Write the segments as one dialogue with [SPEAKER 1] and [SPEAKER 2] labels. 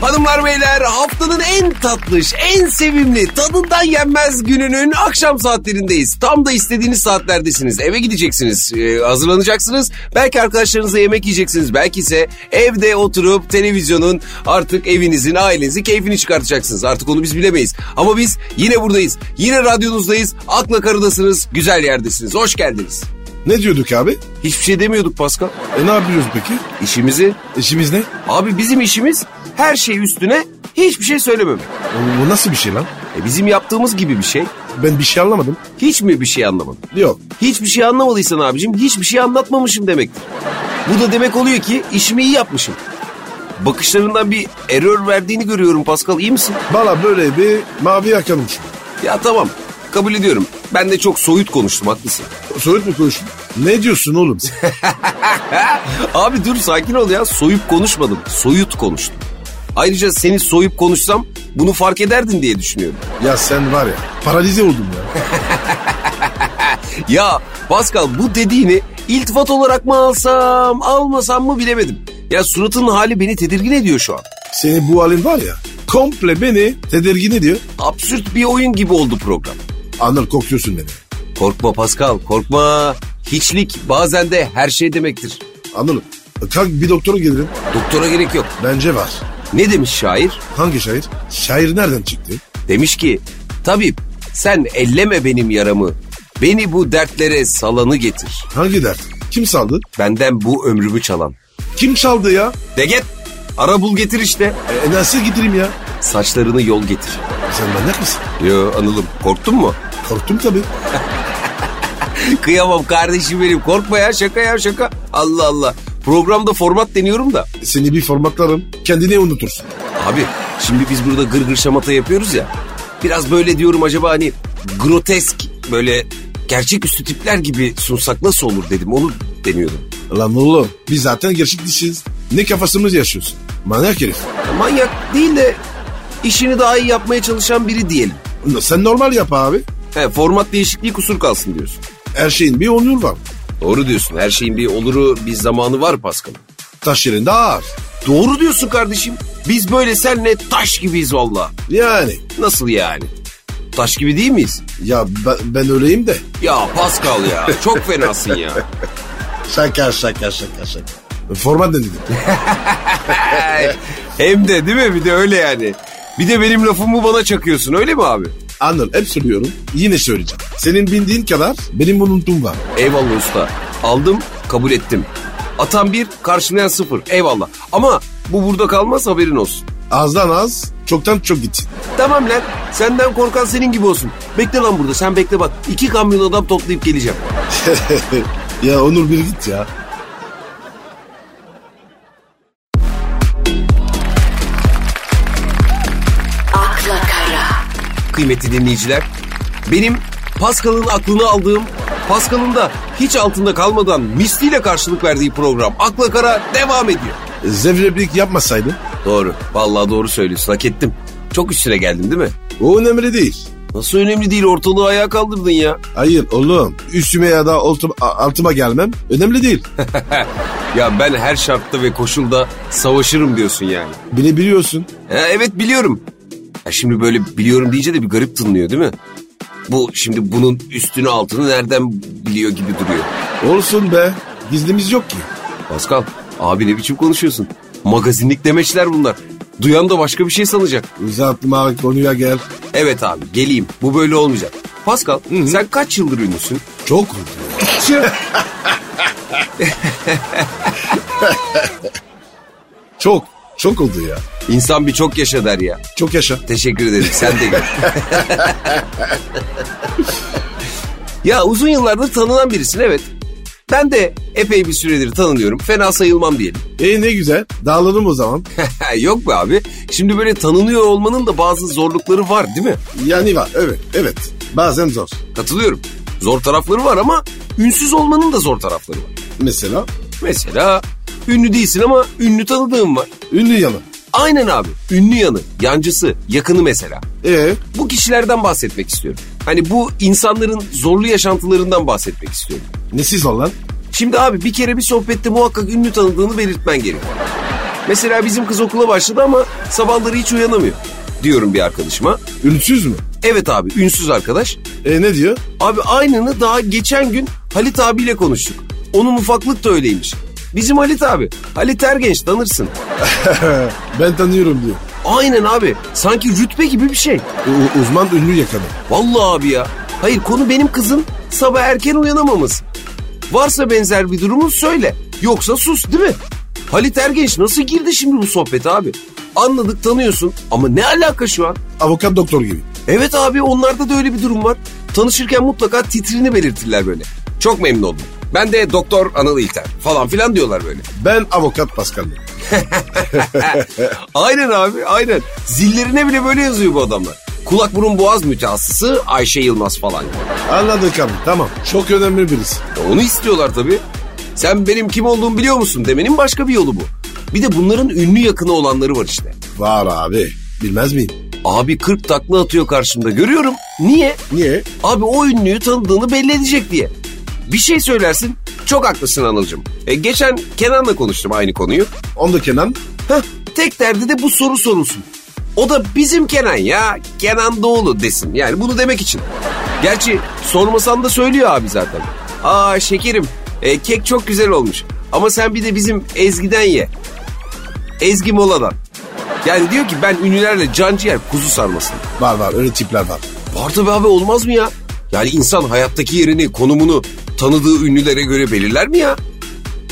[SPEAKER 1] Hanımlar beyler haftanın en tatlış, en sevimli, tadından yenmez gününün akşam saatlerindeyiz. Tam da istediğiniz saatlerdesiniz. Eve gideceksiniz, e, hazırlanacaksınız. Belki arkadaşlarınızla yemek yiyeceksiniz. Belki ise evde oturup televizyonun artık evinizin, ailenizin keyfini çıkartacaksınız. Artık onu biz bilemeyiz. Ama biz yine buradayız. Yine radyonuzdayız. Akla karıdasınız, güzel yerdesiniz. Hoş geldiniz.
[SPEAKER 2] Ne diyorduk abi?
[SPEAKER 1] Hiçbir şey demiyorduk Pascal.
[SPEAKER 2] E ne yapıyoruz peki?
[SPEAKER 1] İşimizi
[SPEAKER 2] İşimiz ne?
[SPEAKER 1] Abi bizim işimiz her şey üstüne hiçbir şey söylememek.
[SPEAKER 2] Oğlum bu nasıl bir şey lan?
[SPEAKER 1] E bizim yaptığımız gibi bir şey.
[SPEAKER 2] Ben bir şey anlamadım.
[SPEAKER 1] Hiç mi bir şey anlamadın?
[SPEAKER 2] Yok.
[SPEAKER 1] Hiçbir şey anlamadıysan abicim hiçbir şey anlatmamışım demektir. Bu da demek oluyor ki işimi iyi yapmışım. Bakışlarından bir error verdiğini görüyorum Pascal iyi misin?
[SPEAKER 2] Bana böyle bir mavi yakalım şu.
[SPEAKER 1] Ya tamam kabul ediyorum. Ben de çok soyut konuştum haklısın.
[SPEAKER 2] Soyut mu konuştun? Ne diyorsun oğlum? sen?
[SPEAKER 1] Abi dur sakin ol ya soyup konuşmadım soyut konuştum. Ayrıca seni soyup konuşsam bunu fark ederdin diye düşünüyorum.
[SPEAKER 2] ya sen var ya paralize oldum ya.
[SPEAKER 1] Ya Pascal bu dediğini iltifat olarak mı alsam almasam mı bilemedim. Ya suratının hali beni tedirgin ediyor şu an.
[SPEAKER 2] Senin bu halin var ya komple beni tedirgin ediyor.
[SPEAKER 1] Absürt bir oyun gibi oldu program.
[SPEAKER 2] Anıl korkuyorsun beni.
[SPEAKER 1] Korkma Pascal korkma. Hiçlik bazen de her şey demektir.
[SPEAKER 2] Anıl'ım kalk bir doktora gelirim.
[SPEAKER 1] Doktora gerek yok.
[SPEAKER 2] Bence var.
[SPEAKER 1] Ne demiş şair?
[SPEAKER 2] Hangi şair? Şair nereden çıktı?
[SPEAKER 1] Demiş ki tabip sen elleme benim yaramı. Beni bu dertlere salanı getir.
[SPEAKER 2] Hangi dert? Kim saldı?
[SPEAKER 1] Benden bu ömrümü çalan.
[SPEAKER 2] Kim çaldı ya?
[SPEAKER 1] De git. Ara bul getir işte.
[SPEAKER 2] E, nasıl giderim ya?
[SPEAKER 1] Saçlarını yol getir.
[SPEAKER 2] Sen manyak mısın?
[SPEAKER 1] Yo Anıl'ım korktun mu?
[SPEAKER 2] Korktum tabii.
[SPEAKER 1] Kıyamam kardeşim benim korkma ya şaka ya şaka. Allah Allah. Programda format deniyorum da.
[SPEAKER 2] E, Seni bir formatlarım. Kendini unutursun.
[SPEAKER 1] Abi şimdi biz burada gır gır şamata yapıyoruz ya. Biraz böyle diyorum acaba hani grotesk böyle gerçeküstü tipler gibi sunsak nasıl olur dedim onu deniyordum.
[SPEAKER 2] Lan oğlum biz zaten gerçek dişiz. Ne kafasımız yaşıyorsun? Manyak herif.
[SPEAKER 1] Ya Manyak değil de işini daha iyi yapmaya çalışan biri diyelim.
[SPEAKER 2] Sen normal yap abi.
[SPEAKER 1] He, format değişikliği kusur kalsın diyorsun.
[SPEAKER 2] Her şeyin bir onur var.
[SPEAKER 1] Doğru diyorsun her şeyin bir oluru bir zamanı var Pascal.
[SPEAKER 2] Taş yerinde ağır.
[SPEAKER 1] Doğru diyorsun kardeşim. Biz böyle senle taş gibiyiz valla.
[SPEAKER 2] Yani
[SPEAKER 1] Nasıl yani? Taş gibi değil miyiz?
[SPEAKER 2] ya ben, ben öyleyim de.
[SPEAKER 1] Ya Pascal ya çok fenasın ya.
[SPEAKER 2] Şaka şaka şaka şaka. Format ne dedim?
[SPEAKER 1] Ay, Hem de değil mi bir de öyle yani. Bir de benim lafımı bana çakıyorsun öyle mi abi?
[SPEAKER 2] Anıl hep söylüyorum. Yine söyleyeceğim. Senin bildiğin kadar benim unuttuğum var.
[SPEAKER 1] Eyvallah usta. Aldım kabul ettim. Atan bir karşılayan sıfır eyvallah. Ama bu burada kalmaz haberin olsun.
[SPEAKER 2] Azdan az, çoktan çok gitsin.
[SPEAKER 1] Tamam lan senden korkan senin gibi olsun. Bekle lan burada sen bekle bak. İki kamyon adam toplayıp geleceğim.
[SPEAKER 2] ya Onur bir git ya.
[SPEAKER 3] akla kara,
[SPEAKER 1] kıymetli dinleyiciler. Benim Pascal'ın aklını aldığım, Pascal'ın da hiç altında kalmadan misliyle karşılık verdiği program Akla Kara devam ediyor.
[SPEAKER 2] Zevreblik yapmasaydın
[SPEAKER 1] Doğru, vallahi doğru söylüyorsun, hak ettim. Çok üstüne geldim değil mi?
[SPEAKER 2] o önemli değil.
[SPEAKER 1] Nasıl önemli değil, ortalığı ayağa kaldırdın ya.
[SPEAKER 2] Hayır oğlum üstüme ya da altıma, altıma gelmem önemli değil.
[SPEAKER 1] ya ben her şartta ve koşulda savaşırım diyorsun yani.
[SPEAKER 2] Beni biliyorsun.
[SPEAKER 1] Ha, evet biliyorum. Ya şimdi böyle biliyorum deyince de bir garip tınlıyor değil mi? Bu şimdi bunun üstünü altını nereden biliyor gibi duruyor.
[SPEAKER 2] Olsun be gizlimiz yok ki.
[SPEAKER 1] Pascal abi ne biçim konuşuyorsun? Magazinlik demeçler bunlar. Duyan da başka bir şey sanacak.
[SPEAKER 2] Uzatma konuya gel.
[SPEAKER 1] Evet abi geleyim bu böyle olmayacak. Pascal sen kaç yıldır ünlüsün?
[SPEAKER 2] Çok oldu. Çok. Çok oldu ya.
[SPEAKER 1] İnsan bir çok yaşa der ya.
[SPEAKER 2] Çok yaşa.
[SPEAKER 1] Teşekkür ederim sen de gel. ya uzun yıllardır tanınan birisin evet. Ben de epey bir süredir tanınıyorum. Fena sayılmam diyelim.
[SPEAKER 2] E ne güzel. Dağılalım o zaman.
[SPEAKER 1] Yok be abi. Şimdi böyle tanınıyor olmanın da bazı zorlukları var değil mi?
[SPEAKER 2] Yani var. Evet. Evet. Bazen zor.
[SPEAKER 1] Katılıyorum. Zor tarafları var ama ünsüz olmanın da zor tarafları var.
[SPEAKER 2] Mesela
[SPEAKER 1] Mesela ünlü değilsin ama ünlü tanıdığım var.
[SPEAKER 2] ünlü yanı.
[SPEAKER 1] Aynen abi. Ünlü yanı, yancısı, yakını mesela.
[SPEAKER 2] E
[SPEAKER 1] Bu kişilerden bahsetmek istiyorum. Hani bu insanların zorlu yaşantılarından bahsetmek istiyorum.
[SPEAKER 2] nesiz ol lan?
[SPEAKER 1] Şimdi abi bir kere bir sohbette muhakkak ünlü tanıdığını belirtmen gerekiyor. Mesela bizim kız okula başladı ama sabahları hiç uyanamıyor diyorum bir arkadaşıma.
[SPEAKER 2] Ünsüz mü?
[SPEAKER 1] Evet abi ünsüz arkadaş.
[SPEAKER 2] E ne diyor?
[SPEAKER 1] Abi aynını daha geçen gün Halit abiyle konuştuk. Onun ufaklık da öyleymiş. Bizim Halit abi. Halit Ergenç tanırsın.
[SPEAKER 2] ben tanıyorum diyor.
[SPEAKER 1] Aynen abi. Sanki rütbe gibi bir şey.
[SPEAKER 2] U- uzman ünlü yakadı.
[SPEAKER 1] Vallahi abi ya. Hayır konu benim kızın sabah erken uyanamamız. Varsa benzer bir durumun söyle. Yoksa sus değil mi? Halit Ergenç nasıl girdi şimdi bu sohbete abi? Anladık tanıyorsun ama ne alaka şu an?
[SPEAKER 2] Avukat doktor gibi.
[SPEAKER 1] Evet abi onlarda da öyle bir durum var. Tanışırken mutlaka titrini belirtirler böyle. Çok memnun oldum. Ben de doktor Anıl İlter falan filan diyorlar böyle.
[SPEAKER 2] Ben avukat Pascal.
[SPEAKER 1] aynen abi aynen. Zillerine bile böyle yazıyor bu adamlar. Kulak burun boğaz mütehassısı Ayşe Yılmaz falan.
[SPEAKER 2] Anladık abi tamam. Çok önemli birisi.
[SPEAKER 1] Ya Onu istiyorlar tabii. Sen benim kim olduğumu biliyor musun demenin başka bir yolu bu. Bir de bunların ünlü yakını olanları var işte.
[SPEAKER 2] Var abi. Bilmez miyim?
[SPEAKER 1] Abi 40 takla atıyor karşımda görüyorum. Niye?
[SPEAKER 2] Niye?
[SPEAKER 1] Abi o ünlüyü tanıdığını belli edecek diye. Bir şey söylersin. Çok haklısın Anıl'cığım. E, geçen Kenan'la konuştum aynı konuyu.
[SPEAKER 2] Onda Kenan.
[SPEAKER 1] Heh, tek derdi de bu soru sorulsun. O da bizim Kenan ya. Kenan Doğulu desin. Yani bunu demek için. Gerçi sormasan da söylüyor abi zaten. Aa şekerim e, kek çok güzel olmuş. Ama sen bir de bizim Ezgi'den ye. Ezgi Mola'dan. Yani diyor ki ben ünlülerle can ciğer kuzu sarmasın.
[SPEAKER 2] Var var öyle tipler var.
[SPEAKER 1] Var tabii abi olmaz mı ya? Yani insan hayattaki yerini, konumunu tanıdığı ünlülere göre belirler mi ya?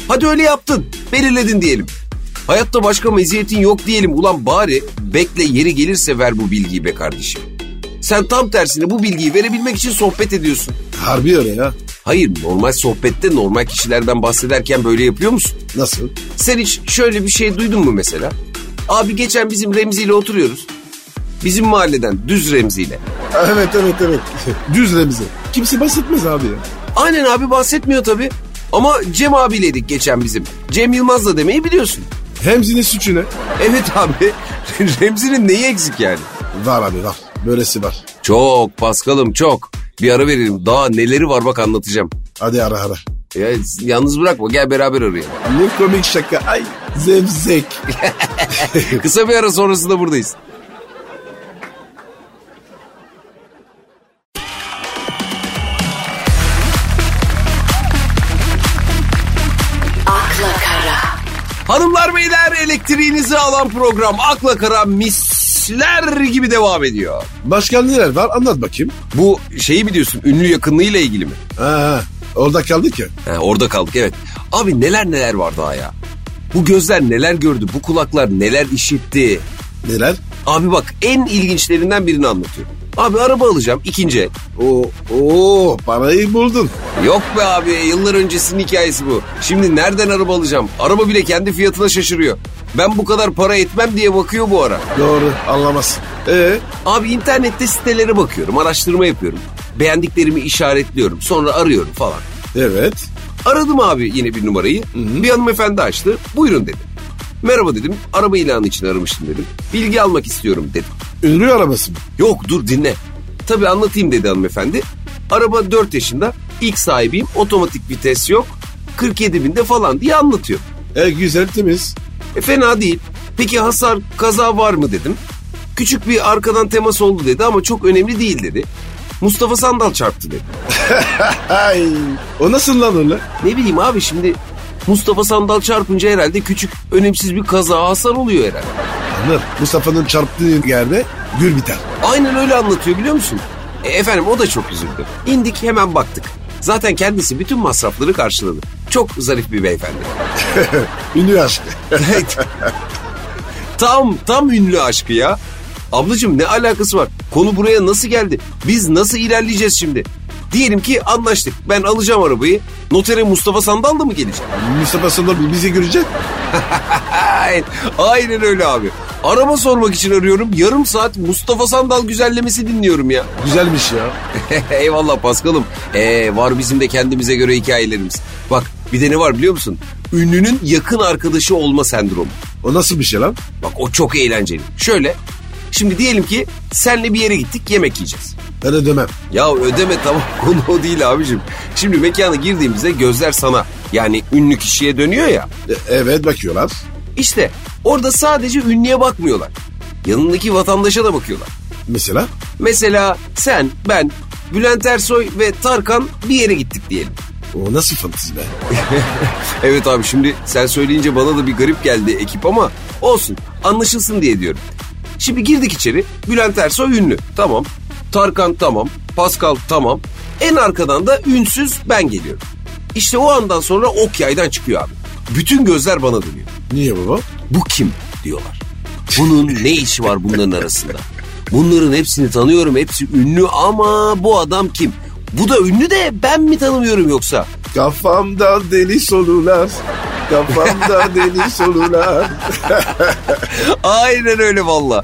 [SPEAKER 1] Hadi öyle yaptın, belirledin diyelim. Hayatta başka meziyetin yok diyelim. Ulan bari bekle yeri gelirse ver bu bilgiyi be kardeşim. Sen tam tersine bu bilgiyi verebilmek için sohbet ediyorsun.
[SPEAKER 2] Harbi öyle ya.
[SPEAKER 1] Hayır normal sohbette normal kişilerden bahsederken böyle yapıyor musun?
[SPEAKER 2] Nasıl?
[SPEAKER 1] Sen hiç şöyle bir şey duydun mu mesela? Abi geçen bizim Remzi ile oturuyoruz. Bizim mahalleden düz Remzi ile.
[SPEAKER 2] Evet evet evet. Düzle bize. Kimse bahsetmez abi ya.
[SPEAKER 1] Aynen abi bahsetmiyor tabii. Ama Cem abiyleydik geçen bizim. Cem Yılmaz'la demeyi biliyorsun.
[SPEAKER 2] Hemzinin suçu ne?
[SPEAKER 1] Evet abi. Remzi'nin neyi eksik yani?
[SPEAKER 2] Var abi var. Böylesi var.
[SPEAKER 1] Çok Paskal'ım çok. Bir ara verelim. Daha neleri var bak anlatacağım.
[SPEAKER 2] Hadi ara ara.
[SPEAKER 1] Ya, yalnız bırakma gel beraber arayalım.
[SPEAKER 2] Ne komik şaka. Ay zevzek.
[SPEAKER 1] Kısa bir ara sonrasında buradayız.
[SPEAKER 3] akla kara,
[SPEAKER 1] Hanımlar beyler elektriğinizi alan program Akla Kara misler gibi devam ediyor.
[SPEAKER 2] Başka neler var anlat bakayım.
[SPEAKER 1] Bu şeyi biliyorsun ünlü yakınlığıyla ilgili mi?
[SPEAKER 2] Ha, orada kaldık ya.
[SPEAKER 1] He, orada kaldık evet. Abi neler neler var daha ya. Bu gözler neler gördü, bu kulaklar neler işitti.
[SPEAKER 2] Neler?
[SPEAKER 1] Abi bak en ilginçlerinden birini anlatıyorum. Abi araba alacağım ikinci el.
[SPEAKER 2] Oo, oo parayı buldun.
[SPEAKER 1] Yok be abi yıllar öncesinin hikayesi bu. Şimdi nereden araba alacağım? Araba bile kendi fiyatına şaşırıyor. Ben bu kadar para etmem diye bakıyor bu ara.
[SPEAKER 2] Doğru anlamaz. Ee,
[SPEAKER 1] Abi internette sitelere bakıyorum, araştırma yapıyorum. Beğendiklerimi işaretliyorum, sonra arıyorum falan.
[SPEAKER 2] evet.
[SPEAKER 1] Aradım abi yine bir numarayı. Bir hanımefendi açtı. Buyurun dedi. Merhaba dedim. Araba ilanı için aramıştım dedim. Bilgi almak istiyorum dedim.
[SPEAKER 2] Ünlü arabası mı?
[SPEAKER 1] Yok dur dinle. Tabii anlatayım dedi hanımefendi. Araba 4 yaşında. ilk sahibiyim. Otomatik vites yok. 47 binde falan diye anlatıyor.
[SPEAKER 2] E, güzel temiz.
[SPEAKER 1] E, fena değil. Peki hasar kaza var mı dedim. Küçük bir arkadan temas oldu dedi ama çok önemli değil dedi. Mustafa Sandal çarptı dedi.
[SPEAKER 2] Ay, o nasıl lan öyle?
[SPEAKER 1] Ne bileyim abi şimdi Mustafa Sandal çarpınca herhalde küçük önemsiz bir kaza hasar oluyor herhalde.
[SPEAKER 2] Anır, Mustafa'nın çarptığı yerde gül biter.
[SPEAKER 1] Aynen öyle anlatıyor biliyor musun? E, efendim o da çok üzüldü. İndik hemen baktık. Zaten kendisi bütün masrafları karşıladı. Çok zarif bir beyefendi.
[SPEAKER 2] Ünlü aşkı.
[SPEAKER 1] Evet. tam tam ünlü aşkı ya. Ablacığım ne alakası var? Konu buraya nasıl geldi? Biz nasıl ilerleyeceğiz şimdi? Diyelim ki anlaştık. Ben alacağım arabayı. Notere Mustafa Sandal da mı gelecek?
[SPEAKER 2] Mustafa sonra bizi görecek.
[SPEAKER 1] Aynen, aynen öyle abi. Araba sormak için arıyorum. Yarım saat Mustafa Sandal güzellemesi dinliyorum ya.
[SPEAKER 2] Güzelmiş ya.
[SPEAKER 1] Eyvallah Paskal'ım. Ee, var bizim de kendimize göre hikayelerimiz. Bak bir de ne var biliyor musun? Ünlünün yakın arkadaşı olma sendromu.
[SPEAKER 2] O nasıl bir şey lan?
[SPEAKER 1] Bak o çok eğlenceli. Şöyle. Şimdi diyelim ki senle bir yere gittik yemek yiyeceğiz.
[SPEAKER 2] Ben ödemem.
[SPEAKER 1] Ya ödeme tamam konu o değil abicim. Şimdi mekana girdiğimizde gözler sana yani ünlü kişiye dönüyor ya.
[SPEAKER 2] E, evet bakıyorlar.
[SPEAKER 1] İşte orada sadece ünlüye bakmıyorlar. Yanındaki vatandaşa da bakıyorlar.
[SPEAKER 2] Mesela?
[SPEAKER 1] Mesela sen, ben, Bülent Ersoy ve Tarkan bir yere gittik diyelim.
[SPEAKER 2] O nasıl fantezi be?
[SPEAKER 1] Evet abi şimdi sen söyleyince bana da bir garip geldi ekip ama olsun anlaşılsın diye diyorum. Şimdi girdik içeri Bülent Ersoy ünlü tamam. Tarkan tamam. Pascal tamam. En arkadan da ünsüz ben geliyorum. İşte o andan sonra ok yaydan çıkıyor abi. Bütün gözler bana dönüyor.
[SPEAKER 2] Niye baba?
[SPEAKER 1] Bu kim diyorlar. Bunun ne işi var bunların arasında? Bunların hepsini tanıyorum hepsi ünlü ama bu adam kim? Bu da ünlü de ben mi tanımıyorum yoksa?
[SPEAKER 2] Kafamda deli solular. Kafamda deli solular.
[SPEAKER 1] Aynen öyle valla.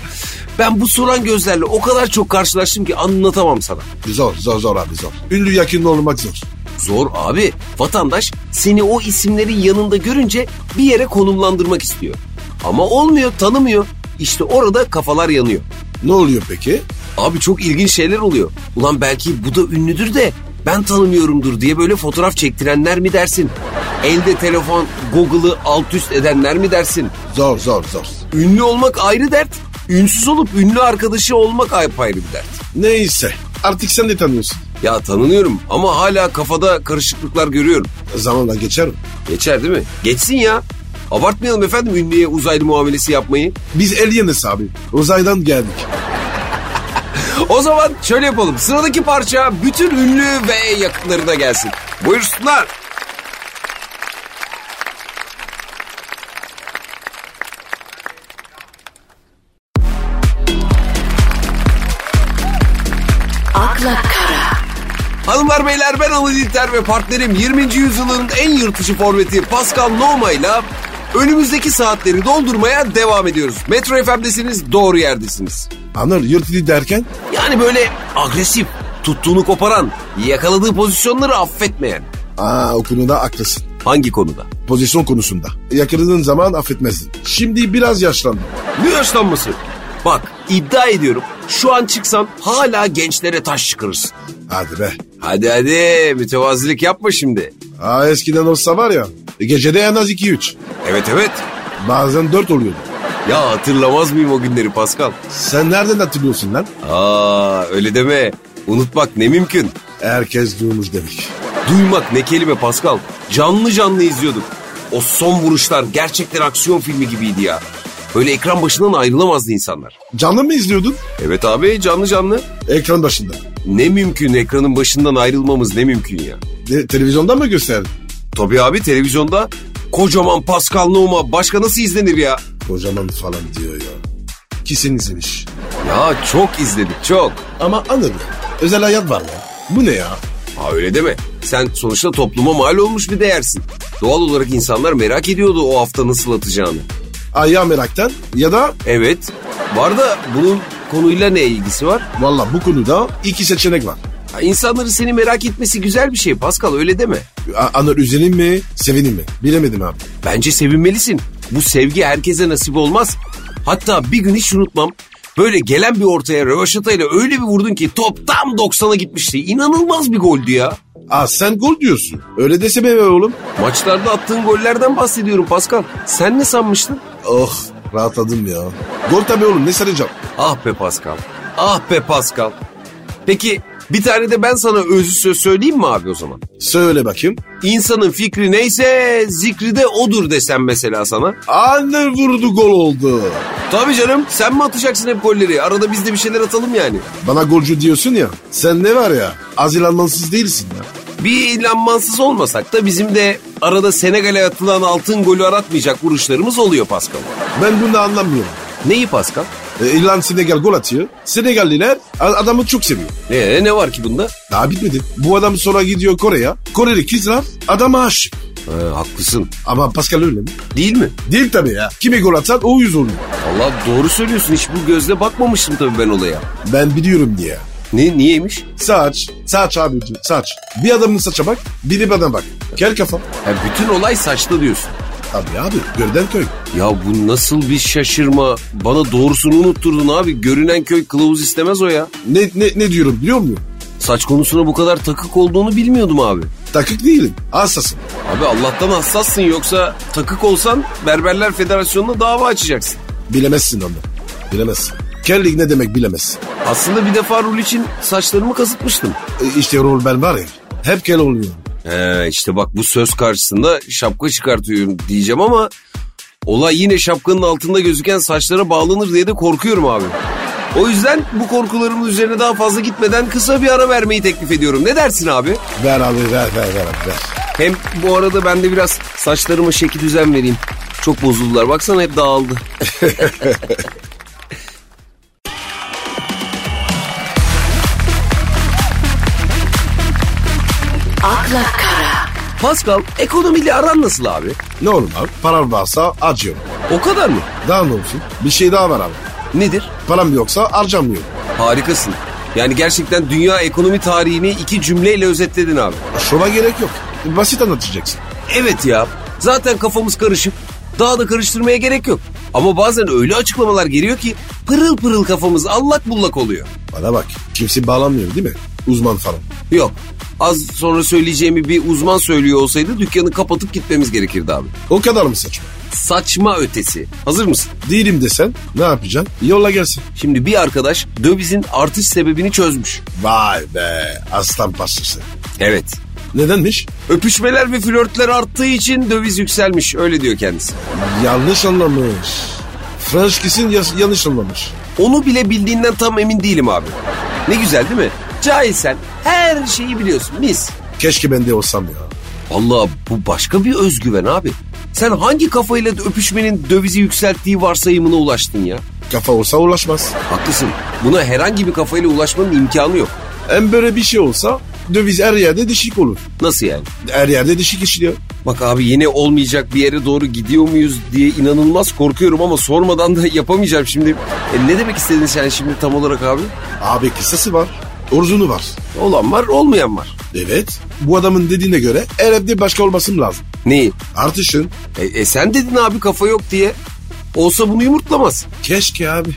[SPEAKER 1] Ben bu soran gözlerle o kadar çok karşılaştım ki anlatamam sana.
[SPEAKER 2] Zor zor zor abi zor. Ünlü yakın olmak zor.
[SPEAKER 1] Zor abi. Vatandaş seni o isimlerin yanında görünce bir yere konumlandırmak istiyor. Ama olmuyor, tanımıyor. İşte orada kafalar yanıyor.
[SPEAKER 2] Ne oluyor peki?
[SPEAKER 1] Abi çok ilginç şeyler oluyor. Ulan belki bu da ünlüdür de ben tanımıyorumdur diye böyle fotoğraf çektirenler mi dersin? Elde telefon, Google'ı alt üst edenler mi dersin?
[SPEAKER 2] Zor zor zor.
[SPEAKER 1] Ünlü olmak ayrı dert, ünsüz olup ünlü arkadaşı olmak ayrı bir dert.
[SPEAKER 2] Neyse artık sen de tanıyorsun.
[SPEAKER 1] Ya tanınıyorum ama hala kafada karışıklıklar görüyorum.
[SPEAKER 2] Zamanla geçer o.
[SPEAKER 1] Geçer değil mi? Geçsin ya. Abartmayalım efendim ünlüye uzaylı muamelesi yapmayı.
[SPEAKER 2] Biz alienız abi. Uzaydan geldik.
[SPEAKER 1] O zaman şöyle yapalım. Sıradaki parça bütün ünlü ve yakınlarına gelsin. Buyursunlar.
[SPEAKER 3] akla kara,
[SPEAKER 1] Hanımlar beyler ben Anıl İlter ve partnerim 20. yüzyılın en yırtıcı forveti Pascal Noma ile önümüzdeki saatleri doldurmaya devam ediyoruz. Metro FM'desiniz doğru yerdesiniz.
[SPEAKER 2] Anır yırtılı derken
[SPEAKER 1] Yani böyle agresif, tuttuğunu koparan, yakaladığı pozisyonları affetmeyen.
[SPEAKER 2] aa o konuda haklısın.
[SPEAKER 1] Hangi konuda?
[SPEAKER 2] Pozisyon konusunda. Yakaladığın zaman affetmezdin. Şimdi biraz yaşlandım.
[SPEAKER 1] Ne yaşlanması? Bak iddia ediyorum şu an çıksan hala gençlere taş çıkarırsın.
[SPEAKER 2] Hadi be.
[SPEAKER 1] Hadi hadi mütevazilik yapma şimdi.
[SPEAKER 2] Aa, eskiden olsa var ya gecede en az 2-3.
[SPEAKER 1] Evet evet.
[SPEAKER 2] Bazen 4 oluyordu.
[SPEAKER 1] Ya hatırlamaz mıyım o günleri Pascal?
[SPEAKER 2] Sen nereden hatırlıyorsun lan?
[SPEAKER 1] Aa öyle deme. Unutmak ne mümkün.
[SPEAKER 2] Herkes duymuş demek.
[SPEAKER 1] Duymak ne kelime Pascal. Canlı canlı izliyorduk. O son vuruşlar gerçekten aksiyon filmi gibiydi ya. Böyle ekran başından ayrılamazdı insanlar.
[SPEAKER 2] Canlı mı izliyordun?
[SPEAKER 1] Evet abi canlı canlı.
[SPEAKER 2] Ekran başında.
[SPEAKER 1] Ne mümkün ekranın başından ayrılmamız ne mümkün ya.
[SPEAKER 2] De, televizyonda mı gösterdin?
[SPEAKER 1] Tabii abi televizyonda kocaman Pascal Numa başka nasıl izlenir ya?
[SPEAKER 2] Kocaman falan diyor ya. Kesin izlemiş.
[SPEAKER 1] Ya çok izledik çok.
[SPEAKER 2] Ama anır ya. Özel hayat var ya. Bu ne ya?
[SPEAKER 1] Ha öyle deme. Sen sonuçta topluma mal olmuş bir değersin. Doğal olarak insanlar merak ediyordu o hafta nasıl atacağını.
[SPEAKER 2] Ayağı meraktan ya da
[SPEAKER 1] Evet. Var da bunun konuyla ne ilgisi var?
[SPEAKER 2] valla bu konuda iki seçenek var.
[SPEAKER 1] Ha, insanların seni merak etmesi güzel bir şey Pascal öyle deme.
[SPEAKER 2] A- Anır üzelim mi, sevinim mi? Bilemedim abi.
[SPEAKER 1] Bence sevinmelisin. Bu sevgi herkese nasip olmaz. Hatta bir gün hiç unutmam. Böyle gelen bir ortaya rövaşatayla öyle bir vurdun ki top tam 90'a gitmişti. İnanılmaz bir goldü ya.
[SPEAKER 2] Aa sen gol diyorsun. Öyle dese be oğlum.
[SPEAKER 1] Maçlarda attığın gollerden bahsediyorum Pascal. Sen ne sanmıştın?
[SPEAKER 2] Oh rahatladım ya. Gol tabii oğlum ne saracağım.
[SPEAKER 1] Ah be Pascal. Ah be Pascal. Peki bir tane de ben sana özlü söz söyleyeyim mi abi o zaman?
[SPEAKER 2] Söyle bakayım.
[SPEAKER 1] İnsanın fikri neyse zikri de odur desem mesela sana.
[SPEAKER 2] Anne vurdu gol oldu.
[SPEAKER 1] Tabii canım sen mi atacaksın hep golleri? Arada biz de bir şeyler atalım yani.
[SPEAKER 2] Bana golcü diyorsun ya. Sen ne var ya? Azil anlamsız değilsin ya.
[SPEAKER 1] Bir lanmansız olmasak da bizim de arada Senegal'e atılan altın golü aratmayacak vuruşlarımız oluyor Pascal.
[SPEAKER 2] Ben bunu da anlamıyorum.
[SPEAKER 1] Neyi Pascal?
[SPEAKER 2] E, İrland Senegal gol atıyor. Senegalliler a- adamı çok seviyor.
[SPEAKER 1] Ee, ne var ki bunda?
[SPEAKER 2] Daha bitmedi. Bu adam sonra gidiyor Kore'ye. Koreli kızlar adama aşık.
[SPEAKER 1] Ee, haklısın.
[SPEAKER 2] Ama Pascal öyle mi?
[SPEAKER 1] Değil mi?
[SPEAKER 2] Değil tabii ya. Kime gol atsan o yüz oluyor.
[SPEAKER 1] Allah doğru söylüyorsun. Hiç bu gözle bakmamıştım tabii ben olaya.
[SPEAKER 2] Ben biliyorum diye.
[SPEAKER 1] Ne, niyeymiş?
[SPEAKER 2] Saç, saç abicim, saç. Bir adamın saça bak, bir de bana bak. Kel kafa.
[SPEAKER 1] Ha, bütün olay saçta diyorsun.
[SPEAKER 2] Tabii abi, görden köy.
[SPEAKER 1] Ya bu nasıl bir şaşırma? Bana doğrusunu unutturdun abi. Görünen köy kılavuz istemez o ya.
[SPEAKER 2] Ne, ne, ne diyorum biliyor musun?
[SPEAKER 1] Saç konusuna bu kadar takık olduğunu bilmiyordum abi.
[SPEAKER 2] Takık değilim. Hassasım.
[SPEAKER 1] Abi Allah'tan hassassın yoksa takık olsan Berberler Federasyonu'na dava açacaksın.
[SPEAKER 2] Bilemezsin onu. Bilemezsin. Kellik ne demek bilemezsin.
[SPEAKER 1] Aslında bir defa rol için saçlarımı kasıtmıştım.
[SPEAKER 2] E, işte rol ben var ya. Hep kel oluyor.
[SPEAKER 1] Ee, işte bak bu söz karşısında şapka çıkartıyorum diyeceğim ama olay yine şapkanın altında gözüken saçlara bağlanır diye de korkuyorum abi. O yüzden bu korkularımın üzerine daha fazla gitmeden kısa bir ara vermeyi teklif ediyorum. Ne dersin abi?
[SPEAKER 2] Ver abi ver ver ver abi ver.
[SPEAKER 1] Hem bu arada ben de biraz saçlarıma şekil düzen vereyim. Çok bozuldular. Baksana hep dağıldı.
[SPEAKER 3] akla kara,
[SPEAKER 1] Pascal ekonomiyle aran nasıl abi?
[SPEAKER 2] Ne olur abi? Param varsa harcıyorum.
[SPEAKER 1] O kadar mı?
[SPEAKER 2] Daha ne olsun? Bir şey daha var abi.
[SPEAKER 1] Nedir?
[SPEAKER 2] Param yoksa harcamıyorum.
[SPEAKER 1] Harikasın. Yani gerçekten dünya ekonomi tarihini iki cümleyle özetledin abi.
[SPEAKER 2] Şova gerek yok. Basit anlatacaksın.
[SPEAKER 1] Evet ya. Zaten kafamız karışık. Daha da karıştırmaya gerek yok. Ama bazen öyle açıklamalar geliyor ki pırıl pırıl kafamız allak bullak oluyor.
[SPEAKER 2] Bana bak. Kimse bağlanmıyor değil mi? Uzman falan.
[SPEAKER 1] Yok. Az sonra söyleyeceğimi bir uzman söylüyor olsaydı dükkanı kapatıp gitmemiz gerekirdi abi.
[SPEAKER 2] O kadar mı saçma?
[SPEAKER 1] Saçma ötesi. Hazır mısın?
[SPEAKER 2] Değilim desen ne yapacaksın? Yolla gelsin.
[SPEAKER 1] Şimdi bir arkadaş dövizin artış sebebini çözmüş.
[SPEAKER 2] Vay be aslan parçası.
[SPEAKER 1] Evet.
[SPEAKER 2] Nedenmiş?
[SPEAKER 1] Öpüşmeler ve flörtler arttığı için döviz yükselmiş. Öyle diyor kendisi.
[SPEAKER 2] Yanlış anlamış. French kesin yas- yanlış anlamış.
[SPEAKER 1] Onu bile bildiğinden tam emin değilim abi. Ne güzel değil mi? Cahilsen her şeyi biliyorsun. Mis.
[SPEAKER 2] Keşke ben de olsam ya.
[SPEAKER 1] Vallahi bu başka bir özgüven abi. Sen hangi kafayla öpüşmenin dövizi yükselttiği varsayımına ulaştın ya?
[SPEAKER 2] Kafa olsa ulaşmaz.
[SPEAKER 1] Haklısın. Buna herhangi bir kafayla ulaşmanın imkanı yok.
[SPEAKER 2] Hem böyle bir şey olsa döviz her yerde dişik olur.
[SPEAKER 1] Nasıl yani?
[SPEAKER 2] Her yerde dişik işliyor.
[SPEAKER 1] Bak abi yine olmayacak bir yere doğru gidiyor muyuz diye inanılmaz korkuyorum ama sormadan da yapamayacağım şimdi. E ne demek istedin sen şimdi tam olarak abi?
[SPEAKER 2] Abi kısası var. Orzunu var.
[SPEAKER 1] Olan var olmayan var.
[SPEAKER 2] Evet. Bu adamın dediğine göre her evde başka olmasın lazım.
[SPEAKER 1] Neyi?
[SPEAKER 2] Artışın.
[SPEAKER 1] E, e sen dedin abi kafa yok diye. Olsa bunu yumurtlamaz.
[SPEAKER 2] Keşke abi.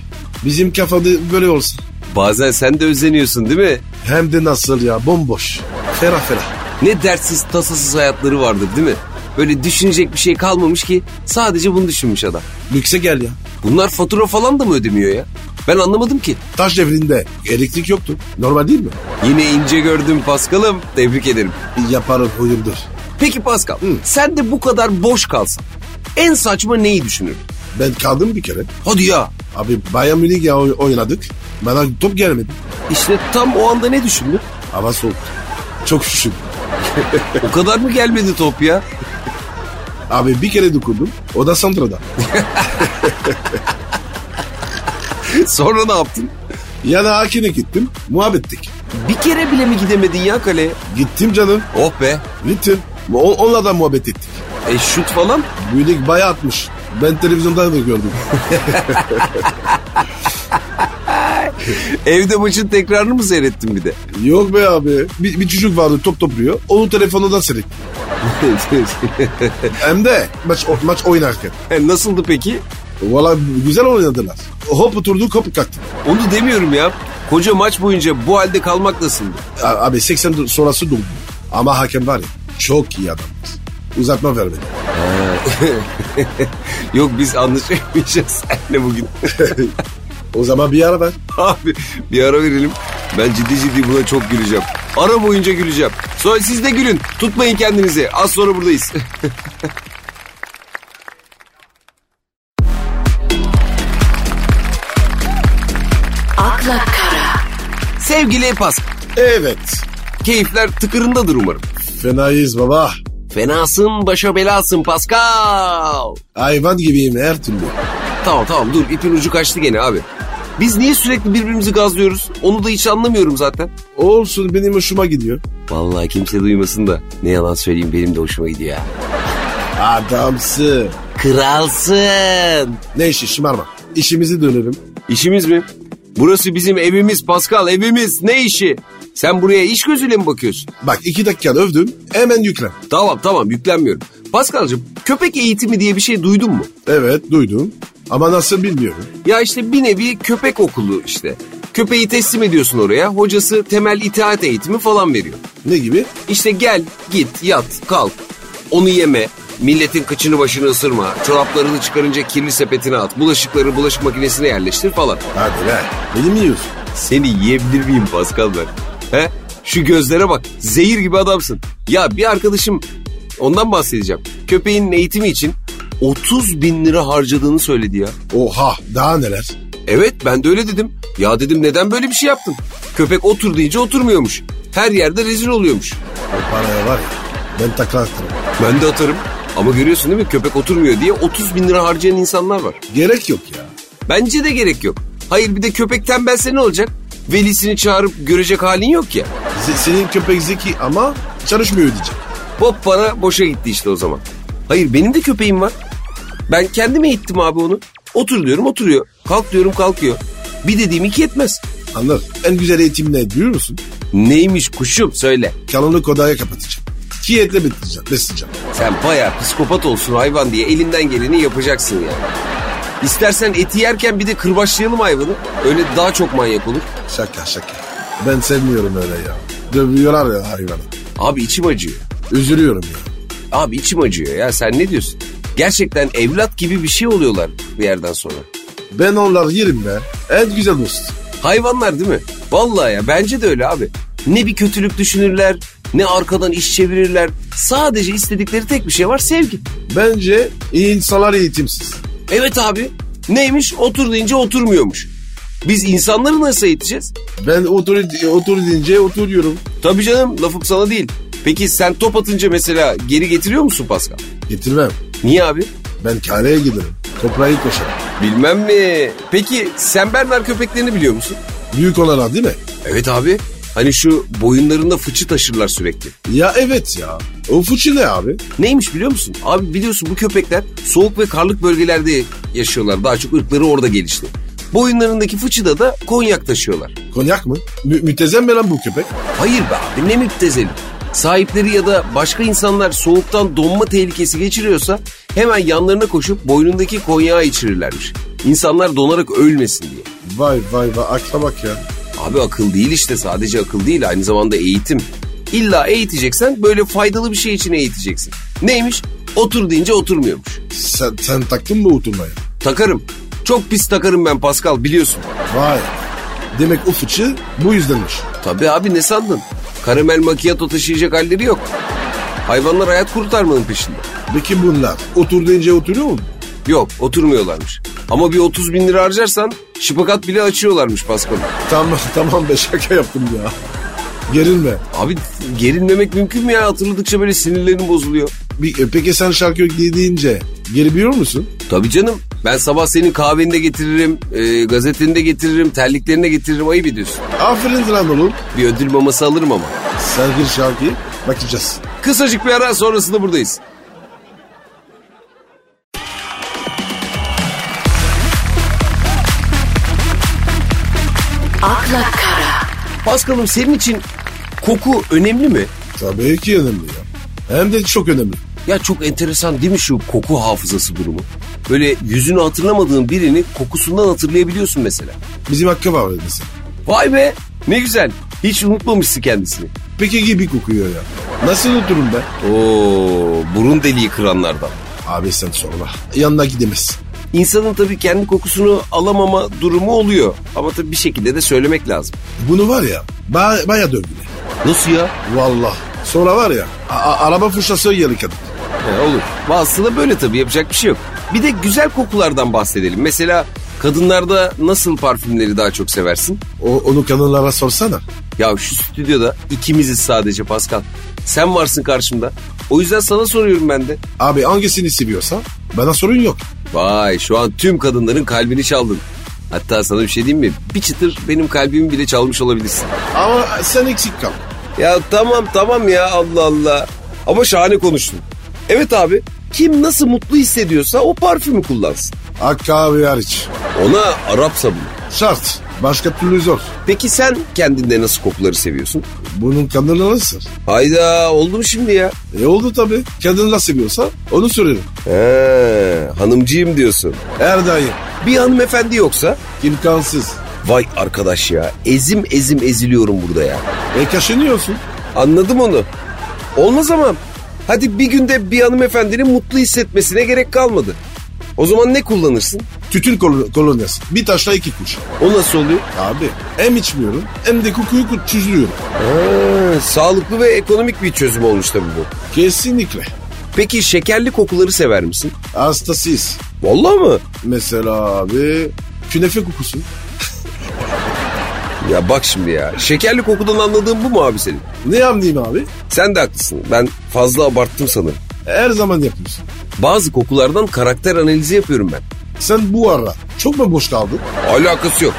[SPEAKER 2] Bizim kafada böyle olsa.
[SPEAKER 1] Bazen sen de özleniyorsun değil mi?
[SPEAKER 2] Hem de nasıl ya bomboş. Ferah ferah.
[SPEAKER 1] Ne dertsiz tasasız hayatları vardır değil mi? Böyle düşünecek bir şey kalmamış ki sadece bunu düşünmüş adam.
[SPEAKER 2] Lükse gel ya.
[SPEAKER 1] Bunlar fatura falan da mı ödemiyor ya? Ben anlamadım ki.
[SPEAKER 2] Taş devrinde elektrik yoktu. Normal değil mi?
[SPEAKER 1] Yine ince gördüm Paskal'ım. Tebrik ederim.
[SPEAKER 2] Yaparım huyumdur.
[SPEAKER 1] Peki Paskal sen de bu kadar boş kalsan en saçma neyi düşünürdün?
[SPEAKER 2] Ben kaldım bir kere.
[SPEAKER 1] Hadi ya.
[SPEAKER 2] Abi Bayern Münih ya oy- oynadık. Bana top gelmedi.
[SPEAKER 1] İşte tam o anda ne düşündün?
[SPEAKER 2] Hava soğuk. Çok üşüdüm.
[SPEAKER 1] O kadar mı gelmedi top ya?
[SPEAKER 2] Abi bir kere dokundum. O da Santra'da.
[SPEAKER 1] Sonra ne yaptın?
[SPEAKER 2] Ya da Hakin'e gittim. Muhabbettik.
[SPEAKER 1] Bir kere bile mi gidemedin ya kaleye?
[SPEAKER 2] Gittim canım.
[SPEAKER 1] Oh be.
[SPEAKER 2] Gittim. O- onunla da muhabbet ettik.
[SPEAKER 1] E şut falan?
[SPEAKER 2] Büyük bayağı atmış. Ben televizyonda da gördüm.
[SPEAKER 1] Evde maçın tekrarını mı seyrettin bir de?
[SPEAKER 2] Yok be abi. Bir, bir çocuk vardı top topluyor. Onu telefonundan seyrettim. Hem de maç, o- maç oynarken.
[SPEAKER 1] E, Nasıldı peki?
[SPEAKER 2] Valla güzel oynadılar. Hop oturduk hop kalktık.
[SPEAKER 1] Onu demiyorum ya. Koca maç boyunca bu halde kalmak nasıldı?
[SPEAKER 2] A- Abi 80 sonrası doldu. Ama hakem var ya çok iyi adamdı. Uzatma vermedi.
[SPEAKER 1] Yok biz anlaşamayacağız seninle bugün.
[SPEAKER 2] O zaman bir ara ver.
[SPEAKER 1] Abi bir ara verelim. Ben ciddi ciddi buna çok güleceğim. Ara boyunca güleceğim. Sonra siz de gülün. Tutmayın kendinizi. Az sonra buradayız.
[SPEAKER 3] akla kara,
[SPEAKER 1] Sevgili Pas,
[SPEAKER 2] Evet.
[SPEAKER 1] keyifler tıkırındadır umarım.
[SPEAKER 2] Fenayız baba.
[SPEAKER 1] Fenasın başa belasın Pascal.
[SPEAKER 2] Hayvan gibiyim her türlü.
[SPEAKER 1] Tamam tamam dur ipin ucu kaçtı gene abi. Biz niye sürekli birbirimizi gazlıyoruz? Onu da hiç anlamıyorum zaten.
[SPEAKER 2] Olsun benim hoşuma gidiyor.
[SPEAKER 1] Vallahi kimse duymasın da ne yalan söyleyeyim benim de hoşuma gidiyor ya.
[SPEAKER 2] Adamsın.
[SPEAKER 1] Kralsın.
[SPEAKER 2] Ne işi şımarma. İşimizi dönelim.
[SPEAKER 1] İşimiz mi? Burası bizim evimiz Pascal evimiz ne işi? Sen buraya iş gözüyle mi bakıyorsun?
[SPEAKER 2] Bak iki dakika övdüm hemen yüklen.
[SPEAKER 1] Tamam tamam yüklenmiyorum. Pascal'cığım köpek eğitimi diye bir şey duydun mu?
[SPEAKER 2] Evet duydum ama nasıl bilmiyorum.
[SPEAKER 1] Ya işte bir nevi köpek okulu işte. Köpeği teslim ediyorsun oraya. Hocası temel itaat eğitimi falan veriyor.
[SPEAKER 2] Ne gibi?
[SPEAKER 1] İşte gel, git, yat, kalk. Onu yeme. Milletin kıçını başını ısırma. Çoraplarını çıkarınca kirli sepetine at. Bulaşıkları bulaşık makinesine yerleştir falan.
[SPEAKER 2] Hadi be. Beni mi yiyorsun?
[SPEAKER 1] Seni yiyebilir miyim Pascal ben? He? Şu gözlere bak. Zehir gibi adamsın. Ya bir arkadaşım ondan bahsedeceğim. Köpeğin eğitimi için 30 bin lira harcadığını söyledi ya.
[SPEAKER 2] Oha daha neler?
[SPEAKER 1] Evet ben de öyle dedim. Ya dedim neden böyle bir şey yaptın? Köpek otur deyince oturmuyormuş. Her yerde rezil oluyormuş.
[SPEAKER 2] O paraya var ya ben takla atarım.
[SPEAKER 1] Ben de atarım. Ama görüyorsun değil mi köpek oturmuyor diye 30 bin lira harcayan insanlar var.
[SPEAKER 2] Gerek yok ya.
[SPEAKER 1] Bence de gerek yok. Hayır bir de köpek tembelse ne olacak? Velisini çağırıp görecek halin yok ya.
[SPEAKER 2] Se- senin köpek zeki ama çalışmıyor diyecek.
[SPEAKER 1] Hop bana boşa gitti işte o zaman. Hayır benim de köpeğim var. Ben kendime ittim abi onu. Otur diyorum oturuyor. Kalk diyorum kalkıyor. Bir dediğim iki etmez.
[SPEAKER 2] Anladın? En güzel eğitim ne biliyor musun?
[SPEAKER 1] Neymiş kuşum söyle.
[SPEAKER 2] Kalanlık odaya kapatacağım. Ki etle besleyeceğim. besleyeceğim.
[SPEAKER 1] Sen bayağı psikopat olsun hayvan diye elinden geleni yapacaksın yani. İstersen eti yerken bir de kırbaçlayalım hayvanı. Öyle daha çok manyak olur.
[SPEAKER 2] Şaka şaka. Ben sevmiyorum öyle ya. Dövüyorlar ya hayvanı.
[SPEAKER 1] Abi içim acıyor.
[SPEAKER 2] Üzülüyorum ya.
[SPEAKER 1] Abi içim acıyor ya sen ne diyorsun? Gerçekten evlat gibi bir şey oluyorlar bir yerden sonra.
[SPEAKER 2] Ben onlar yerim be. En güzel dost.
[SPEAKER 1] Hayvanlar değil mi? Vallahi ya bence de öyle abi. Ne bir kötülük düşünürler, ne arkadan iş çevirirler. Sadece istedikleri tek bir şey var sevgi.
[SPEAKER 2] Bence iyi insanlar eğitimsiz.
[SPEAKER 1] Evet abi. Neymiş? Otur deyince oturmuyormuş. Biz insanları nasıl eğiteceğiz?
[SPEAKER 2] Ben otur, otur deyince oturuyorum.
[SPEAKER 1] Tabii canım lafım sana değil. Peki sen top atınca mesela geri getiriyor musun Pascal?
[SPEAKER 2] Getirmem.
[SPEAKER 1] Niye abi?
[SPEAKER 2] Ben kareye giderim. Toprağı koşarım.
[SPEAKER 1] Bilmem mi? Peki sen Bernard köpeklerini biliyor musun?
[SPEAKER 2] Büyük olarak değil mi?
[SPEAKER 1] Evet abi. Hani şu boyunlarında fıçı taşırlar sürekli.
[SPEAKER 2] Ya evet ya. O fıçı ne abi?
[SPEAKER 1] Neymiş biliyor musun? Abi biliyorsun bu köpekler soğuk ve karlık bölgelerde yaşıyorlar. Daha çok ırkları orada gelişti. Boyunlarındaki fıçıda da konyak taşıyorlar.
[SPEAKER 2] Konyak mı? Mü mütezem mi lan bu köpek?
[SPEAKER 1] Hayır be abi ne müptezeli. Sahipleri ya da başka insanlar soğuktan donma tehlikesi geçiriyorsa hemen yanlarına koşup boynundaki konyağı içirirlermiş. İnsanlar donarak ölmesin diye.
[SPEAKER 2] Vay vay vay akla bak ya.
[SPEAKER 1] Abi akıl değil işte sadece akıl değil aynı zamanda eğitim. İlla eğiteceksen böyle faydalı bir şey için eğiteceksin. Neymiş? Otur deyince oturmuyormuş.
[SPEAKER 2] Sen, sen taktın mı oturmaya?
[SPEAKER 1] Takarım. Çok pis takarım ben Pascal biliyorsun.
[SPEAKER 2] Vay. Demek o fıçı bu yüzdenmiş.
[SPEAKER 1] Tabii abi ne sandın? Karamel macchiato taşıyacak halleri yok. Hayvanlar hayat kurtarmanın peşinde.
[SPEAKER 2] Peki bunlar otur deyince oturuyor mu?
[SPEAKER 1] Yok oturmuyorlarmış. Ama bir 30 bin lira harcarsan şıpakat bile açıyorlarmış Pascal.
[SPEAKER 2] Tamam tamam be şaka yaptım ya. Gerilme.
[SPEAKER 1] Abi gerilmemek mümkün mü ya? Hatırladıkça böyle sinirlerim bozuluyor.
[SPEAKER 2] Bir- e, Peki sen şarkı deyince geriliyor musun?
[SPEAKER 1] Tabii canım. Ben sabah senin kahveni de getiririm, e, gazeteni de getiririm, terliklerini de getiririm. Ayıp ediyorsun.
[SPEAKER 2] Aferin lan oğlum.
[SPEAKER 1] Bir ödül maması alırım ama.
[SPEAKER 2] Sen gir şarkıyı bakacağız.
[SPEAKER 1] Kısacık bir ara sonrasında buradayız.
[SPEAKER 3] akla kara,
[SPEAKER 1] Paskal'ım senin için koku önemli mi?
[SPEAKER 2] Tabii ki önemli ya. Hem de çok önemli.
[SPEAKER 1] Ya çok enteresan değil mi şu koku hafızası durumu? Böyle yüzünü hatırlamadığın birini kokusundan hatırlayabiliyorsun mesela.
[SPEAKER 2] Bizim hakkı var mesela.
[SPEAKER 1] Vay be ne güzel. Hiç unutmamışsın kendisini.
[SPEAKER 2] Peki gibi kokuyor ya. Nasıl oturun be?
[SPEAKER 1] Oo burun deliği kıranlardan.
[SPEAKER 2] Abi sen sorma. Yanına gidemezsin.
[SPEAKER 1] İnsanın tabii kendi kokusunu alamama durumu oluyor. Ama tabii bir şekilde de söylemek lazım.
[SPEAKER 2] Bunu var ya ba baya dövdüler.
[SPEAKER 1] Nasıl ya?
[SPEAKER 2] Valla. Sonra var ya a- a- araba fırçası yarı kadın.
[SPEAKER 1] He, olur. Bazısı da böyle tabii yapacak bir şey yok. Bir de güzel kokulardan bahsedelim. Mesela kadınlarda nasıl parfümleri daha çok seversin?
[SPEAKER 2] O, onu kadınlara sorsana.
[SPEAKER 1] Ya şu stüdyoda ikimiziz sadece Pascal. Sen varsın karşımda. O yüzden sana soruyorum ben de.
[SPEAKER 2] Abi hangisini seviyorsa bana sorun yok.
[SPEAKER 1] Vay şu an tüm kadınların kalbini çaldın. Hatta sana bir şey diyeyim mi? Bir çıtır benim kalbimi bile çalmış olabilirsin.
[SPEAKER 2] Ama sen eksik kal.
[SPEAKER 1] Ya tamam tamam ya Allah Allah. Ama şahane konuştun. Evet abi kim nasıl mutlu hissediyorsa o parfümü kullansın.
[SPEAKER 2] Hakkı abi hariç.
[SPEAKER 1] Ona Arap sabunu.
[SPEAKER 2] Şart. Başka türlü zor.
[SPEAKER 1] Peki sen kendinde nasıl kokuları seviyorsun?
[SPEAKER 2] Bunun kadınları nasıl?
[SPEAKER 1] Hayda oldu mu şimdi ya?
[SPEAKER 2] E oldu tabii. Kadınla seviyorsa onu soruyorum.
[SPEAKER 1] He, hanımcıyım diyorsun.
[SPEAKER 2] Her daim.
[SPEAKER 1] Bir hanımefendi yoksa
[SPEAKER 2] İmkansız.
[SPEAKER 1] Vay arkadaş ya ezim ezim eziliyorum burada ya.
[SPEAKER 2] E kaşınıyorsun.
[SPEAKER 1] Anladım onu. Olmaz ama hadi bir günde bir hanımefendinin mutlu hissetmesine gerek kalmadı. O zaman ne kullanırsın?
[SPEAKER 2] Tütün kol- kolonyası. Bir taşla iki kuş.
[SPEAKER 1] O nasıl oluyor?
[SPEAKER 2] Abi hem içmiyorum hem de kokuyu kut- çözüyorum.
[SPEAKER 1] Ha, sağlıklı ve ekonomik bir çözüm olmuş tabii bu.
[SPEAKER 2] Kesinlikle.
[SPEAKER 1] Peki şekerli kokuları sever misin?
[SPEAKER 2] Hastasıyız.
[SPEAKER 1] Vallahi mı?
[SPEAKER 2] Mesela abi künefe kokusu.
[SPEAKER 1] Ya bak şimdi ya. Şekerli kokudan anladığın bu mu abi senin?
[SPEAKER 2] Ne anlayayım abi?
[SPEAKER 1] Sen de haklısın. Ben fazla abarttım sanırım.
[SPEAKER 2] Her zaman yapıyorsun.
[SPEAKER 1] Bazı kokulardan karakter analizi yapıyorum ben.
[SPEAKER 2] Sen bu ara çok mu boş kaldın?
[SPEAKER 1] Alakası yok.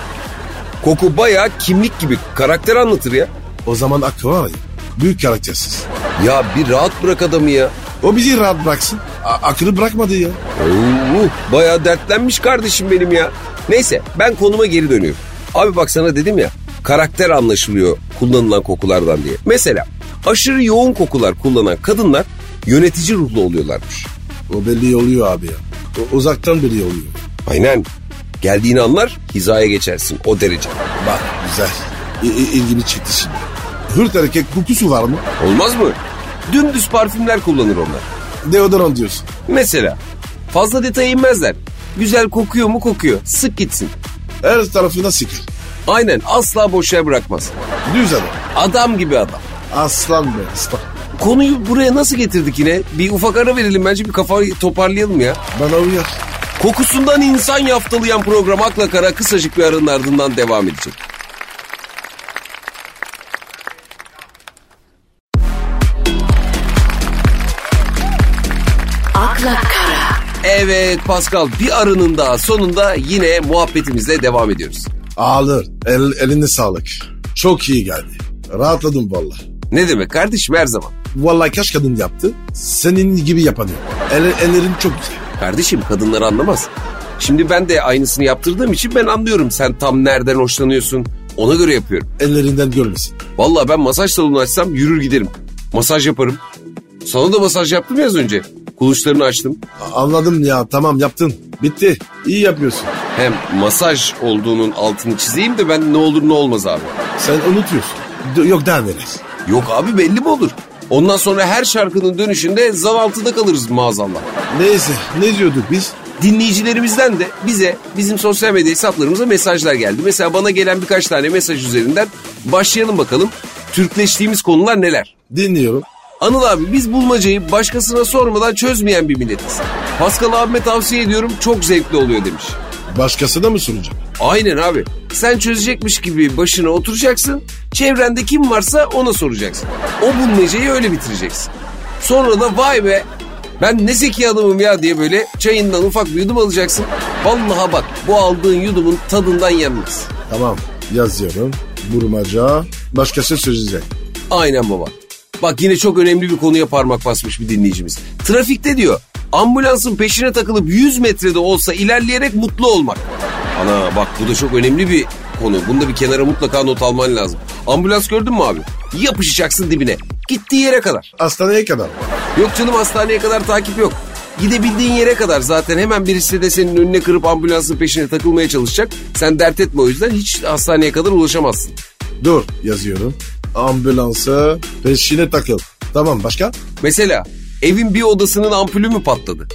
[SPEAKER 1] Koku bayağı kimlik gibi karakter anlatır ya.
[SPEAKER 2] O zaman aklı var ya. Büyük karaktersiz.
[SPEAKER 1] Ya bir rahat bırak adamı ya.
[SPEAKER 2] O bizi rahat bıraksın. A- aklı bırakmadı ya.
[SPEAKER 1] Oo, bayağı dertlenmiş kardeşim benim ya. Neyse ben konuma geri dönüyorum. Abi bak sana dedim ya karakter anlaşılıyor kullanılan kokulardan diye. Mesela aşırı yoğun kokular kullanan kadınlar yönetici ruhlu oluyorlarmış.
[SPEAKER 2] O belli oluyor abi ya. O- uzaktan belli oluyor.
[SPEAKER 1] Aynen. Geldiğini anlar hizaya geçersin o derece.
[SPEAKER 2] Bak güzel. İ- İ- ilgimi çekti şimdi. Hırt erkek kokusu var mı?
[SPEAKER 1] Olmaz mı? Dümdüz parfümler kullanır onlar.
[SPEAKER 2] Deodorant diyorsun.
[SPEAKER 1] Mesela fazla detaya inmezler. Güzel kokuyor mu kokuyor. Sık gitsin.
[SPEAKER 2] Her tarafına sıkır.
[SPEAKER 1] Aynen asla boşa bırakmaz.
[SPEAKER 2] Düz adam.
[SPEAKER 1] Adam gibi adam.
[SPEAKER 2] Aslan be aslan.
[SPEAKER 1] Konuyu buraya nasıl getirdik yine? Bir ufak ara verelim bence bir kafayı toparlayalım ya.
[SPEAKER 2] Bana uyar.
[SPEAKER 1] Kokusundan insan yaftalayan program Akla Kara kısacık bir aranın ardından devam edecek.
[SPEAKER 3] akla kara,
[SPEAKER 1] Evet Pascal bir arının daha sonunda yine muhabbetimizle devam ediyoruz.
[SPEAKER 2] Ağlar. El, eline sağlık. Çok iyi geldi. Rahatladım valla.
[SPEAKER 1] Ne demek kardeşim her zaman.
[SPEAKER 2] Valla kaç kadın yaptı. Senin gibi yapan yok. El, ellerin çok güzel.
[SPEAKER 1] Kardeşim kadınlar anlamaz. Şimdi ben de aynısını yaptırdığım için ben anlıyorum sen tam nereden hoşlanıyorsun ona göre yapıyorum.
[SPEAKER 2] Ellerinden görmesin.
[SPEAKER 1] Vallahi ben masaj salonu açsam yürür giderim. Masaj yaparım. Sana da masaj yaptım ya az önce. Kuluçlarını açtım.
[SPEAKER 2] A- anladım ya tamam yaptın. Bitti. İyi yapıyorsun.
[SPEAKER 1] Hem masaj olduğunun altını çizeyim de ben ne olur ne olmaz abi.
[SPEAKER 2] Sen unutuyorsun. D- yok daha neler.
[SPEAKER 1] Yok abi belli mi olur? Ondan sonra her şarkının dönüşünde zan altında kalırız maazallah.
[SPEAKER 2] Neyse ne diyorduk biz?
[SPEAKER 1] Dinleyicilerimizden de bize bizim sosyal medya hesaplarımıza mesajlar geldi. Mesela bana gelen birkaç tane mesaj üzerinden başlayalım bakalım. Türkleştiğimiz konular neler?
[SPEAKER 2] Dinliyorum.
[SPEAKER 1] Anıl abi biz bulmacayı başkasına sormadan çözmeyen bir milletiz. Pascal abime tavsiye ediyorum çok zevkli oluyor demiş.
[SPEAKER 2] Başkasına mı soracağım?
[SPEAKER 1] Aynen abi. Sen çözecekmiş gibi başına oturacaksın. Çevrende kim varsa ona soracaksın. O bulmacayı öyle bitireceksin. Sonra da vay be ben ne zeki adamım ya diye böyle çayından ufak bir yudum alacaksın. Vallaha bak bu aldığın yudumun tadından yenmez.
[SPEAKER 2] Tamam yazıyorum. Burmaca. Başkası söyleyecek.
[SPEAKER 1] Aynen baba. Bak yine çok önemli bir konuya parmak basmış bir dinleyicimiz. Trafikte diyor ambulansın peşine takılıp 100 metrede olsa ilerleyerek mutlu olmak. Ana bak bu da çok önemli bir konu. Bunu da bir kenara mutlaka not alman lazım. Ambulans gördün mü abi? Yapışacaksın dibine. Gittiği yere kadar.
[SPEAKER 2] Hastaneye kadar.
[SPEAKER 1] Yok canım hastaneye kadar takip yok. Gidebildiğin yere kadar zaten hemen birisi de senin önüne kırıp ambulansın peşine takılmaya çalışacak. Sen dert etme o yüzden hiç hastaneye kadar ulaşamazsın.
[SPEAKER 2] Dur yazıyorum. Ambulansa peşine takıl. Tamam başka?
[SPEAKER 1] Mesela evin bir odasının ampulü mü patladı?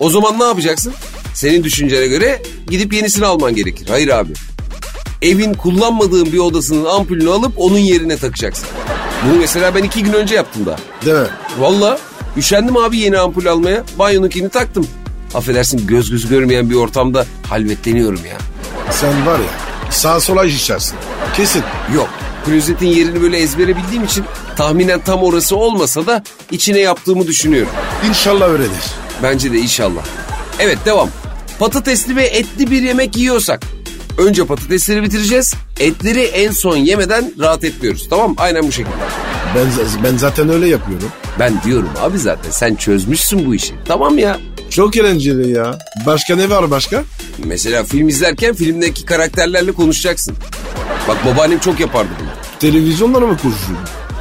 [SPEAKER 1] O zaman ne yapacaksın? Senin düşüncene göre gidip yenisini alman gerekir. Hayır abi. Evin kullanmadığın bir odasının ampulünü alıp onun yerine takacaksın. Bunu mesela ben iki gün önce yaptım da.
[SPEAKER 2] Değil mi?
[SPEAKER 1] Valla üşendim abi yeni ampul almaya. Banyonunkini taktım. Affedersin göz göz görmeyen bir ortamda halvetleniyorum ya.
[SPEAKER 2] Sen var ya sağa sola işersin. Kesin.
[SPEAKER 1] Yok. Klozetin yerini böyle ezbere bildiğim için tahminen tam orası olmasa da içine yaptığımı düşünüyorum.
[SPEAKER 2] İnşallah öyledir.
[SPEAKER 1] Bence de inşallah. Evet devam. Patatesli ve etli bir yemek yiyorsak önce patatesleri bitireceğiz. Etleri en son yemeden rahat etmiyoruz. Tamam mı? Aynen bu şekilde.
[SPEAKER 2] Ben, ben zaten öyle yapıyorum.
[SPEAKER 1] Ben diyorum abi zaten sen çözmüşsün bu işi. Tamam ya.
[SPEAKER 2] Çok eğlenceli ya. Başka ne var başka?
[SPEAKER 1] Mesela film izlerken filmdeki karakterlerle konuşacaksın. Bak babaannem çok yapardı bunu.
[SPEAKER 2] Televizyonlara mı konuşuyorsun?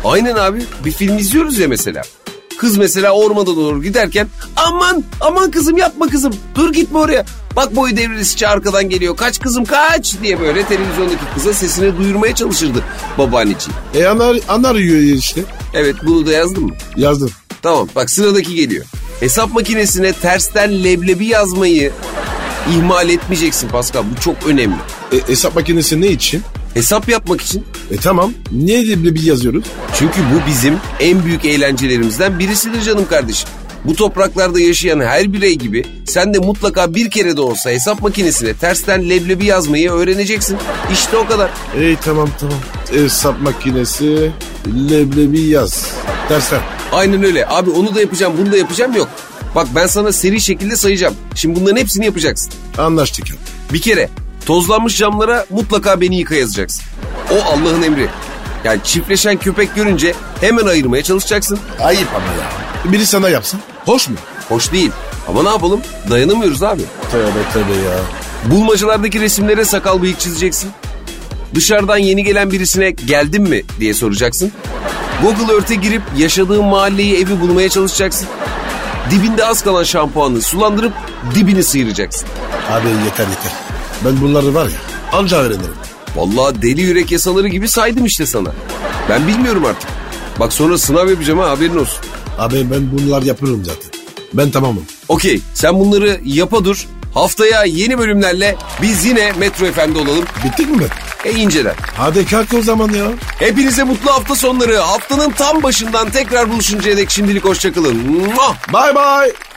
[SPEAKER 1] Aynen abi bir film izliyoruz ya mesela. Kız mesela ormana doğru giderken aman aman kızım yapma kızım dur gitme oraya. Bak boyu devrilisi arkadan geliyor kaç kızım kaç diye böyle televizyondaki kıza sesini duyurmaya çalışırdı babaanneciğim.
[SPEAKER 2] E anar, anar yiyor işte.
[SPEAKER 1] Evet bunu da yazdım mı?
[SPEAKER 2] Yazdım.
[SPEAKER 1] Tamam bak sıradaki geliyor. Hesap makinesine tersten leblebi yazmayı ihmal etmeyeceksin Pascal. Bu çok önemli.
[SPEAKER 2] E, hesap makinesi ne için?
[SPEAKER 1] Hesap yapmak için.
[SPEAKER 2] E tamam. Niye leblebi yazıyoruz?
[SPEAKER 1] Çünkü bu bizim en büyük eğlencelerimizden birisidir canım kardeşim. Bu topraklarda yaşayan her birey gibi sen de mutlaka bir kere de olsa hesap makinesine tersten leblebi yazmayı öğreneceksin. İşte o kadar.
[SPEAKER 2] E tamam tamam. Hesap makinesi leblebi yaz. Dersler.
[SPEAKER 1] Aynen öyle. Abi onu da yapacağım, bunu da yapacağım yok. Bak ben sana seri şekilde sayacağım. Şimdi bunların hepsini yapacaksın.
[SPEAKER 2] Anlaştık ya.
[SPEAKER 1] Bir kere tozlanmış camlara mutlaka beni yıka yazacaksın. O Allah'ın emri. Yani çiftleşen köpek görünce hemen ayırmaya çalışacaksın.
[SPEAKER 2] Ayıp ama ya. Biri sana yapsın. Hoş mu?
[SPEAKER 1] Hoş değil. Ama ne yapalım? Dayanamıyoruz abi.
[SPEAKER 2] Tövbe tövbe ya.
[SPEAKER 1] Bulmacalardaki resimlere sakal bıyık çizeceksin. Dışarıdan yeni gelen birisine geldin mi diye soracaksın. Google Earth'e girip yaşadığın mahalleyi evi bulmaya çalışacaksın. Dibinde az kalan şampuanı sulandırıp dibini sıyıracaksın.
[SPEAKER 2] Abi yeter yeter. Ben bunları var ya anca öğrenirim.
[SPEAKER 1] Vallahi deli yürek yasaları gibi saydım işte sana. Ben bilmiyorum artık. Bak sonra sınav yapacağım ha haberin olsun.
[SPEAKER 2] Abi ben bunlar yapıyorum zaten. Ben tamamım.
[SPEAKER 1] Okey sen bunları yapa dur. Haftaya yeni bölümlerle biz yine Metro Efendi olalım.
[SPEAKER 2] Bittik mi ben?
[SPEAKER 1] E inceler.
[SPEAKER 2] Hadi kalk o zaman ya.
[SPEAKER 1] Hepinize mutlu hafta sonları. Haftanın tam başından tekrar buluşuncaya dek şimdilik hoşçakalın. Muah!
[SPEAKER 2] Bye bye.